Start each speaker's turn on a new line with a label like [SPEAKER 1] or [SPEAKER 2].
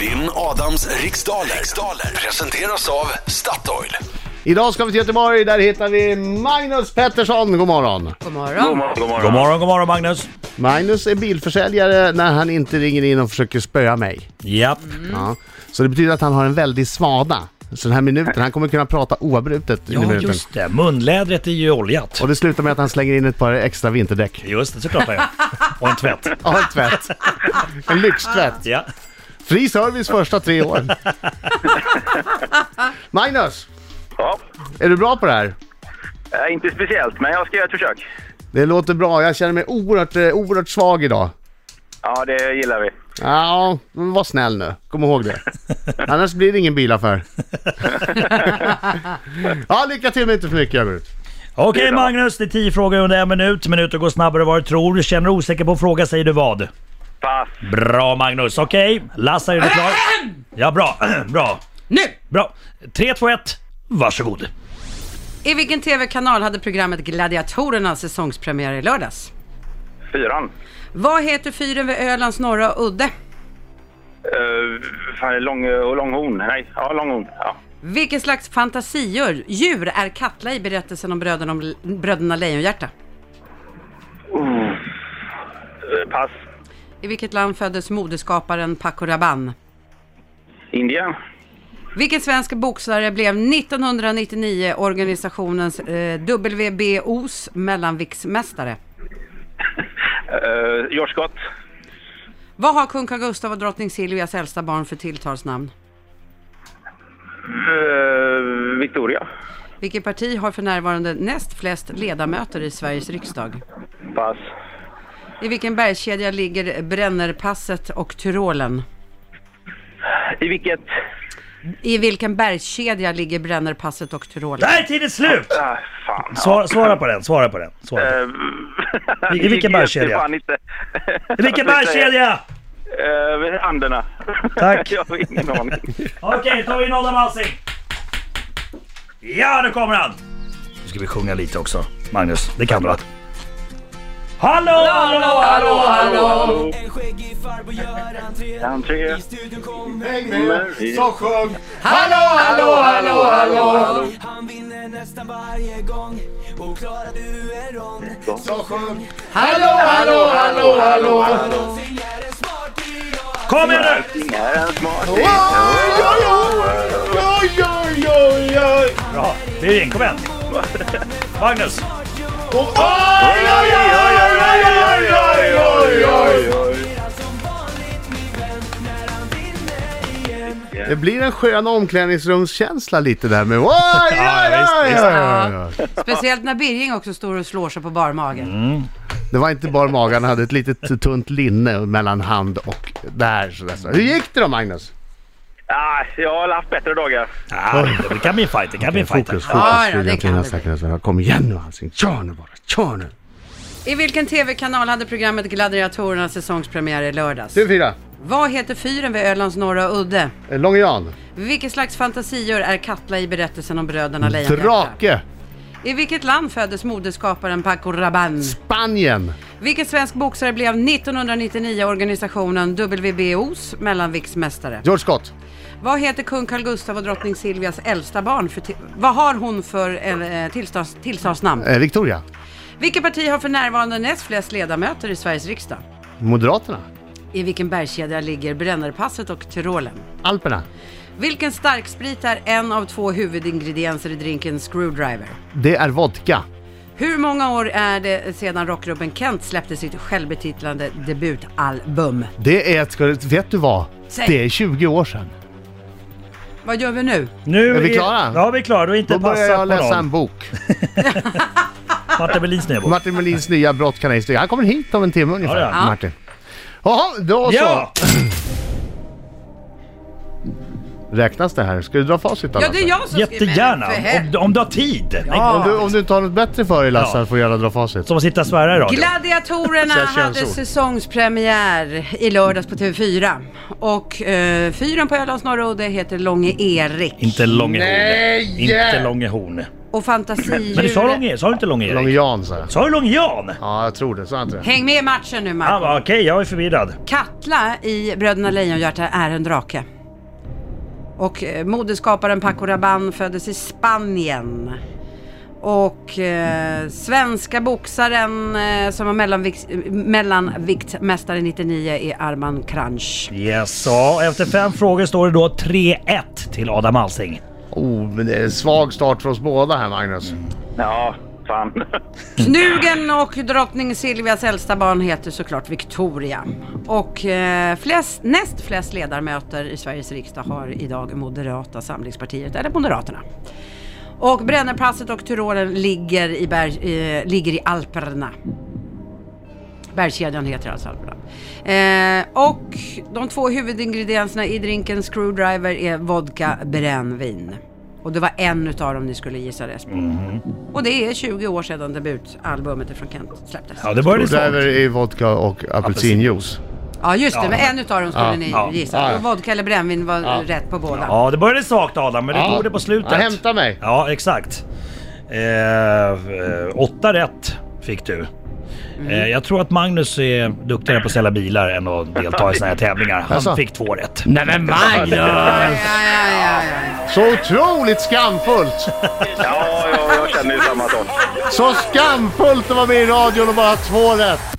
[SPEAKER 1] Vinn Adams riksdaler. riksdaler presenteras av Statoil.
[SPEAKER 2] Idag ska vi till Göteborg, där hittar vi Magnus Pettersson. God morgon!
[SPEAKER 3] God morgon.
[SPEAKER 4] God morgon, god morgon Magnus.
[SPEAKER 2] Magnus är bilförsäljare när han inte ringer in och försöker spöa mig.
[SPEAKER 4] Japp.
[SPEAKER 2] Ja. Så det betyder att han har en väldig svada. Så den här minuten, han kommer kunna prata oavbrutet i
[SPEAKER 4] Ja,
[SPEAKER 2] minuten.
[SPEAKER 4] just det. Munlädret är ju oljat.
[SPEAKER 2] Och det slutar med att han slänger in ett par extra vinterdäck.
[SPEAKER 4] Just det, såklart jag. Och en tvätt.
[SPEAKER 2] Ja, en tvätt. En lyxtvätt.
[SPEAKER 4] Ja.
[SPEAKER 2] Fri service första tre åren. Magnus,
[SPEAKER 5] Ja,
[SPEAKER 2] är du bra på det här?
[SPEAKER 5] eh, inte speciellt, men jag ska göra ett försök.
[SPEAKER 2] Det låter bra. Jag känner mig oerhört, eh, oerhört svag idag.
[SPEAKER 5] Ja, det gillar vi.
[SPEAKER 2] Ja, men var snäll nu. Kom ihåg det. Annars blir det ingen bilaffär. ja, lycka till men inte för mycket Öberut.
[SPEAKER 4] Okej
[SPEAKER 5] Det är bra.
[SPEAKER 4] Magnus, det är tio frågor under en minut. Minuter går snabbare än vad du tror. Känner du osäker på en fråga säger du vad?
[SPEAKER 5] Pass.
[SPEAKER 4] Bra Magnus. Okej, Lasse är du klar? Ja, bra. bra.
[SPEAKER 3] Nu!
[SPEAKER 4] Bra. 3, 2, 1. Varsågod.
[SPEAKER 3] I vilken TV-kanal hade programmet Gladiatorerna säsongspremiär i lördags?
[SPEAKER 5] Fyran.
[SPEAKER 3] Vad heter fyren vid Ölands norra udde?
[SPEAKER 5] Uh, fan, är det lång, och långhorn? Nej, ja, långhorn. Ja.
[SPEAKER 3] Vilken slags fantasier djur är Katla i berättelsen om bröderna, om bröderna Lejonhjärta?
[SPEAKER 5] Eh, pass.
[SPEAKER 3] I vilket land föddes modeskaparen Paco Rabanne?
[SPEAKER 5] Indien.
[SPEAKER 3] Vilken svensk boxare blev 1999 organisationens eh, WBOs mellanviktsmästare?
[SPEAKER 5] Uh, George Scott.
[SPEAKER 3] Vad har kung Carl Gustaf och drottning Silvias äldsta barn för tilltalsnamn?
[SPEAKER 5] Eh, Victoria.
[SPEAKER 3] Vilket parti har för närvarande näst flest ledamöter i Sveriges riksdag?
[SPEAKER 5] Pass.
[SPEAKER 3] I vilken bergskedja ligger Brännerpasset och Tyrolen?
[SPEAKER 5] I vilket...
[SPEAKER 3] I vilken bergskedja ligger Brännerpasset och Tyrolen?
[SPEAKER 4] Där är tiden slut!
[SPEAKER 5] Ah, fan.
[SPEAKER 4] Svara, svara på den, svara på den. Svara på den.
[SPEAKER 5] Eh,
[SPEAKER 4] I- i vilken bergskedja?
[SPEAKER 5] Jag vet fan inte.
[SPEAKER 4] I vilken bergskedja?
[SPEAKER 5] Eh, Anderna.
[SPEAKER 4] Tack.
[SPEAKER 5] jag har ingen aning.
[SPEAKER 4] Okej, tar vi in Adam Alsing. Ja, nu kommer han! Nu ska vi sjunga lite också. Magnus, det kan du va? Hallå, hallå, hallå, hallå!
[SPEAKER 6] En skäggig farbror gör entré
[SPEAKER 5] Entré.
[SPEAKER 6] I studion kommer
[SPEAKER 2] Så sjung! Hallå, hallå, hallå, hallå!
[SPEAKER 6] Han vinner nästan varje gång Och klarar du en rond
[SPEAKER 2] Så sjung! Hallå, hallå, hallå, hallå!
[SPEAKER 6] Någonsin är en smarting och han
[SPEAKER 4] Kom igen nu!
[SPEAKER 5] Är en smart.
[SPEAKER 2] Oj, oj, oj, oj!
[SPEAKER 4] Bra, det är in. Kom igen. Magnus.
[SPEAKER 2] Oj, oj, oj, oj, oj, oj, oj!
[SPEAKER 6] som vanligt min vän När han vinner igen
[SPEAKER 2] Det blir en skön omklädningsrumskänsla lite där med oj, oj,
[SPEAKER 4] Ja,
[SPEAKER 2] oj,
[SPEAKER 4] visst,
[SPEAKER 2] oj, oj, oj.
[SPEAKER 3] Speciellt när Birging också står och slår sig på barmagen.
[SPEAKER 2] Mm. Det var inte bara magen, han hade ett litet tunt linne mellan hand och där. Sådär, sådär. Hur gick det då Magnus?
[SPEAKER 5] Ah, jag har haft bättre dagar.
[SPEAKER 4] Ah, det kan bli en fight, det kan bli en fight.
[SPEAKER 2] Fokus, fokus.
[SPEAKER 3] Ja, ja, det
[SPEAKER 2] Viljan till
[SPEAKER 3] kan
[SPEAKER 2] den
[SPEAKER 3] vi.
[SPEAKER 2] säkra svenska. Kom igen nu Hansing, kör nu bara, kör nu.
[SPEAKER 3] I vilken TV-kanal hade programmet Gladiatorerna säsongspremiär i lördags?
[SPEAKER 2] Du fyra,
[SPEAKER 3] Vad heter fyren vid Ölands norra udde?
[SPEAKER 2] Eh, Långe Jan,
[SPEAKER 3] Vilket slags fantasier är Katla i berättelsen om bröderna Lejonhjärta?
[SPEAKER 2] Drake,
[SPEAKER 3] I vilket land föddes modeskaparen Paco Rabanne?
[SPEAKER 2] Spanien,
[SPEAKER 3] Vilken svensk boxare blev 1999 organisationen WBOs mellanviktsmästare?
[SPEAKER 2] George Scott,
[SPEAKER 3] Vad heter kung Carl Gustaf och drottning Silvias äldsta barn? För ti- vad har hon för eh, tillstads- tillstadsnamn?
[SPEAKER 2] eh, Victoria,
[SPEAKER 3] Vilket parti har för närvarande näst flest ledamöter i Sveriges riksdag?
[SPEAKER 2] Moderaterna,
[SPEAKER 3] I vilken bergskedja ligger Brännerpasset och Tyrolen?
[SPEAKER 2] Alperna,
[SPEAKER 3] Vilken starksprit är en av två huvudingredienser i drinken Screwdriver?
[SPEAKER 2] det är vodka.
[SPEAKER 3] Hur många år är det sedan rockgruppen Kent släppte sitt självbetitlande debutalbum?
[SPEAKER 2] Det är, ska, du- vet du vad?
[SPEAKER 3] Säg.
[SPEAKER 2] Det är 20 år sedan.
[SPEAKER 3] Vad gör vi nu?
[SPEAKER 4] Nu
[SPEAKER 2] Är vi klara?
[SPEAKER 4] Ja, vi är klara. Du har
[SPEAKER 2] Då
[SPEAKER 4] inte
[SPEAKER 2] börjar jag
[SPEAKER 4] passat på
[SPEAKER 2] läsa en
[SPEAKER 4] någon.
[SPEAKER 2] bok.
[SPEAKER 4] Martin Melins nya bok.
[SPEAKER 2] Martin Melins nya brott kan jag historia. Han kommer hit om en timme ungefär,
[SPEAKER 4] Ja, det gör
[SPEAKER 3] han.
[SPEAKER 2] Martin. Jaha, då så.
[SPEAKER 4] Ja!
[SPEAKER 2] Räknas det här? Ska du dra facit då?
[SPEAKER 3] Ja, det
[SPEAKER 2] Lasse?
[SPEAKER 3] är jag som
[SPEAKER 4] Jättegärna!
[SPEAKER 3] skriver. För hel-
[SPEAKER 4] Om, om du har tid.
[SPEAKER 2] Om du, om du inte har något bättre för dig Lasse
[SPEAKER 4] Ja.
[SPEAKER 2] får du gärna dra facit.
[SPEAKER 4] Som att sitta och svära i radio.
[SPEAKER 3] Gladiatorerna
[SPEAKER 2] Så här känns
[SPEAKER 3] hade
[SPEAKER 2] ord.
[SPEAKER 3] säsongspremiär i lördags på TV4. Och eh, fyren på Ölands norra udde heter Långe Erik.
[SPEAKER 4] Inte Långe Horn.
[SPEAKER 2] Nej!
[SPEAKER 4] Inte Långe Horn.
[SPEAKER 3] och fantasidjur.
[SPEAKER 4] Men du sa Lång-Erik? Sa du inte
[SPEAKER 2] Lång
[SPEAKER 4] Lång-Erik?
[SPEAKER 2] Jan sa jag.
[SPEAKER 4] Sa du Lång-Jan?
[SPEAKER 2] Ja, jag tror det. Sa jag inte det?
[SPEAKER 3] Häng med i matchen nu Mark.
[SPEAKER 4] Han bara, okej, jag är förvirrad.
[SPEAKER 3] Katla i Bröderna Lejonhjärta är en drake. Och eh, modeskaparen Paco Rabanne föddes i Spanien. Och eh, svenska boxaren eh, som var mellanvikt, eh, mellanviktmästare 99 är Arman Kranj.
[SPEAKER 4] Yes, ja. Efter fem frågor står det då 3-1 till Adam Alsing.
[SPEAKER 2] Oh, men det är en svag start för oss båda här Magnus.
[SPEAKER 5] Ja, fan.
[SPEAKER 3] Knugen och drottning Silvias äldsta barn heter såklart Victoria. Och eh, flest, näst flest ledamöter i Sveriges riksdag har idag Moderata samlingspartiet, eller Moderaterna. Och Brennerpasset och Tyrolen ligger i, berg, eh, ligger i Alperna. Bergskedjan heter alltså Alperna. Eh, och de två huvudingredienserna i drinken Screwdriver är vodka, brännvin. Och det var en utav dem ni skulle gissa rätt på.
[SPEAKER 4] Mhm.
[SPEAKER 3] Och det är 20 år sedan debutalbumet från Kent släpptes.
[SPEAKER 4] Ja, det började
[SPEAKER 2] Utöver
[SPEAKER 4] svagt.
[SPEAKER 2] i vodka och apelsinjuice.
[SPEAKER 3] Ja just det, men en utav dem skulle
[SPEAKER 2] Ja,
[SPEAKER 3] ni
[SPEAKER 4] ja,
[SPEAKER 3] gissa.
[SPEAKER 2] ja.
[SPEAKER 3] Och vodka eller brännvin var rätt på båda.
[SPEAKER 4] Ja, det började svagt Adam, men du
[SPEAKER 2] Ja.
[SPEAKER 4] tog det på slutet.
[SPEAKER 2] Ja, hämta mig.
[SPEAKER 4] Ja, exakt. Eh, eh, åtta rätt fick du.
[SPEAKER 2] Mm.
[SPEAKER 4] Eh, jag tror att Magnus är duktigare på att sälja bilar än att delta i såna här tävlingar. Han
[SPEAKER 2] Jaså?
[SPEAKER 4] fick två rätt.
[SPEAKER 2] Nej men Magnus!
[SPEAKER 3] Ja, ja, ja, ja.
[SPEAKER 2] Så otroligt skamfullt!
[SPEAKER 5] Ja, ja jag känner ju samma sak.
[SPEAKER 2] Så skamfullt att vara med i radion och bara ha två rätt.